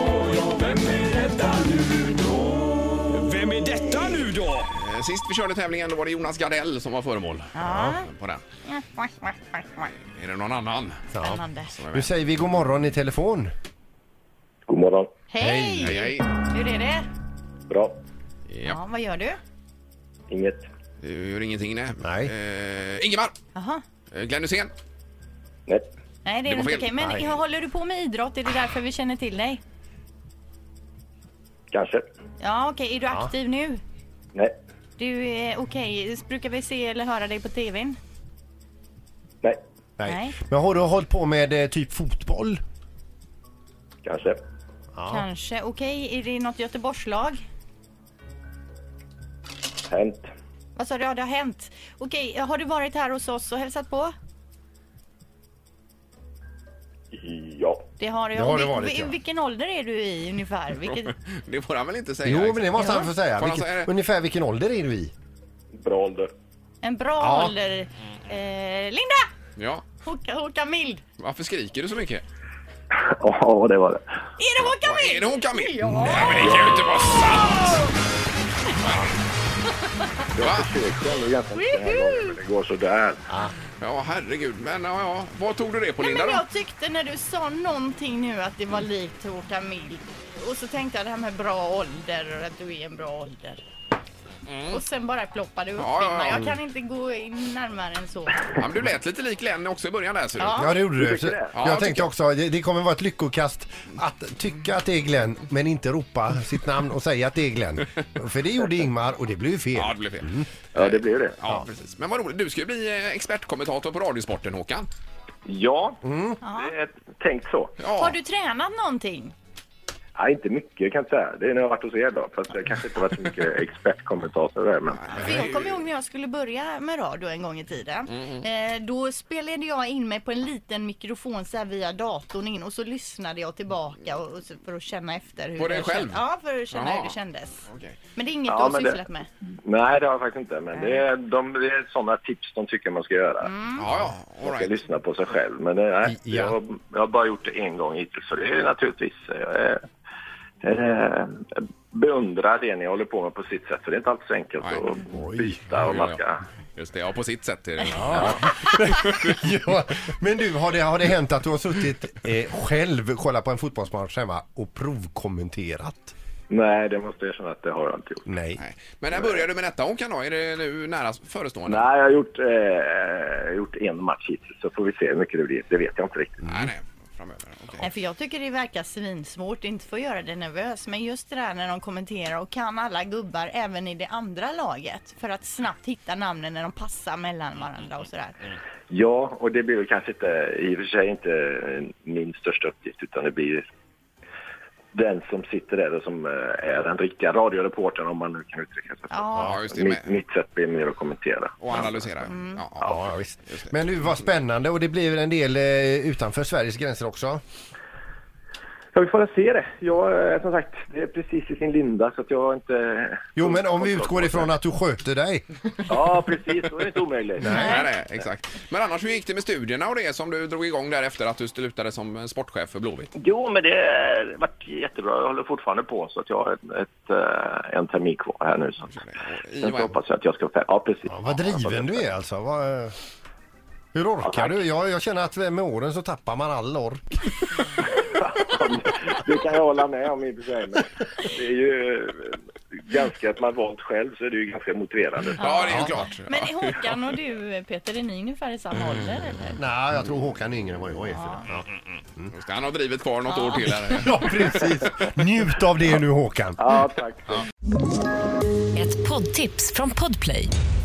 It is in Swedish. Eh, Sist vi körde tävlingen då var det Jonas Gardell som var föremål Ja. på den. Är det någon annan? Spännande. som är Nu med? säger vi god morgon i telefon. God morgon. Hej! Hej, hej. Hur är det? Bra. Ja. Ja, vad gör du? Inget. Du gör ingenting, nej. Nej. Eh, Ingemar! Jaha. Eh, Glenn Hysén! Nej. Nej, det är Det var inte fel. okej. Men Nej. håller du på med idrott? Är det därför vi känner till dig? Kanske. Ja, okej. Är du aktiv nu? Nej. Du, eh, okej. Brukar vi se eller höra dig på tvn? Nej. Nej. Men har du hållit på med eh, typ fotboll? Kanske. Kanske. Okej. Är det något Göteborgslag? Hänt. Vad sa du? Ja, det har hänt. Okej, har du varit här hos oss och hälsat på? Ja. Det har, Det har Vil- det varit, ja. Vilken ålder är du i ungefär? Vilket... Det får han väl inte säga? Jo, men det måste han få säga. Får han Vilken- säga det? ungefär vilken ålder är du i? Bra ålder. En bra Ja. ålder. Eh, Linda! Ja. Håka, Håkan Mild! Varför skriker du så mycket? Ja, det var det. Är det Håkan Mild? Är det hon Camille? Ja. Nej, men det kan ju inte vara sant! Va? Försökte ändå ganska mycket den här gången, men det går sådär. Ja, herregud. Men ja, ja. Vad tog du det på, Nej, Linda? men Då? jag tyckte när du sa någonting nu att det var likt Håkan Mild. Och så tänkte jag det här med bra ålder och att du är en bra ålder. Och sen bara ploppade du upp Mm. Ja, ja, Ingmar. ja. Jag kan inte gå in närmare än så. Ja, men du lät lite lik Glenn också i början där, ser du. Ja. Ja, det gjorde du. tycker Så- det? Ja, Jag jag tänkte tycker- också, det det kommer vara ett lyckokast att tycka att det är Glenn, men inte ropa sitt namn och säga att det är Glenn. För det gjorde Ingmar och det blev ju Ja, fel. det blev fel. Ja, det blir det. Mm. Ja, precis. Men vad roligt. Du ska ju bli eh, expertkommentator på Radiosporten, Håkan. Ja, det är tänkt så. Ja. Har du tränat någonting? Nej, inte mycket kan jag inte säga. Det är när jag har varit hos er då. Fast jag kanske inte har varit så mycket expertkommentator där. Men För jag kommer ihåg när jag skulle börja med radio en gång i tiden. Eh, då spelade jag in mig på en liten mikrofon så här via datorn in och så lyssnade jag tillbaka och, och så, för att känna efter hur På dig det själv? Känd, ja, för att känna Jaha. hur det kändes. Okej. Men det är inget Ja, du har men det- sysslat med? nej, det har jag faktiskt inte. Men det är, de, det är sådana tips de tycker man ska göra. Ja, ja. Man All ska right. lyssna på sig själv. Men eh, nej, Ja. jag, har- jag har bara gjort det en gång hittills. Så det är naturligtvis... Jag eh, beundrar det ni håller på med på sitt sätt. För det är inte alltid så enkelt Nej. att byta och man ska... Just det, ja, på sitt sätt är det. Ja. Men du, har det, har det hänt att du har suttit eh, själv och kollat på en fotbollsmatch hemma och provkommenterat? Nej, det måste jag erkänna att det har jag inte gjort. Nej. Nej. Men när börjar du med detta, Håkan? Då? Är det nu nära förestående? Nej, jag har gjort, eh, gjort en match hittills. Så får vi se hur mycket det blir. Det vet jag inte riktigt. Nej, nej. Framöver. Okej. Nej, för jag tycker det verkar svinsvårt, inte för att göra dig nervös, men just det där när de kommenterar och kan alla gubbar även i det andra laget för att snabbt hitta namnen när de passar mellan varandra och Mm. sådär. Ja, och det blir väl kanske inte, i och för sig inte min största uppgift utan det blir den som sitter där och som eh, är den riktiga radioreportern om man nu kan uttrycka sig så. Ja, Ja, just det. Mitt, Med mitt sätt blir mer att kommentera. och analysera. Ja, ja. Ja, visst. Men du, vad spännande och det blir en del eh, utanför Sveriges gränser också. Ja, vi får väl se det. Jag, eh, som sagt, det är precis i sin linda så att jag har inte... Jo, men om vi utgår ifrån att du sköter dig. Ja, precis. Då är det inte omöjligt. Nej, nej, exakt. Men annars, hur gick det med studierna och det som du drog igång där efter att du slutade som sportchef för Blåvitt? Jo, men det har varit jättebra. Jag håller fortfarande på så att jag har ett, ett, eh, en termin kvar här nu. Så. I Sen och så en. hoppas jag att jag ska... Ja, precis. Ja, vad driven du är alltså. Vad, eh, hur orkar tack. du? Jag, jag känner att med åren så tappar man all ork. Det kan jag hålla med om i och för sig. Men det är ju eh, ganska, att man valt själv så är det ju ganska motiverande. Ja, Mm. det är ju klart. Men är Håkan och du, Peter, är ni ungefär i samma ålder eller? Nej, jag tror Håkan är yngre än vad jag är. För det. Just det, Han har drivit kvar något år till. Här. Ja, precis. Njut av det nu Håkan. Ja, tack. Ett poddtips från Podplay.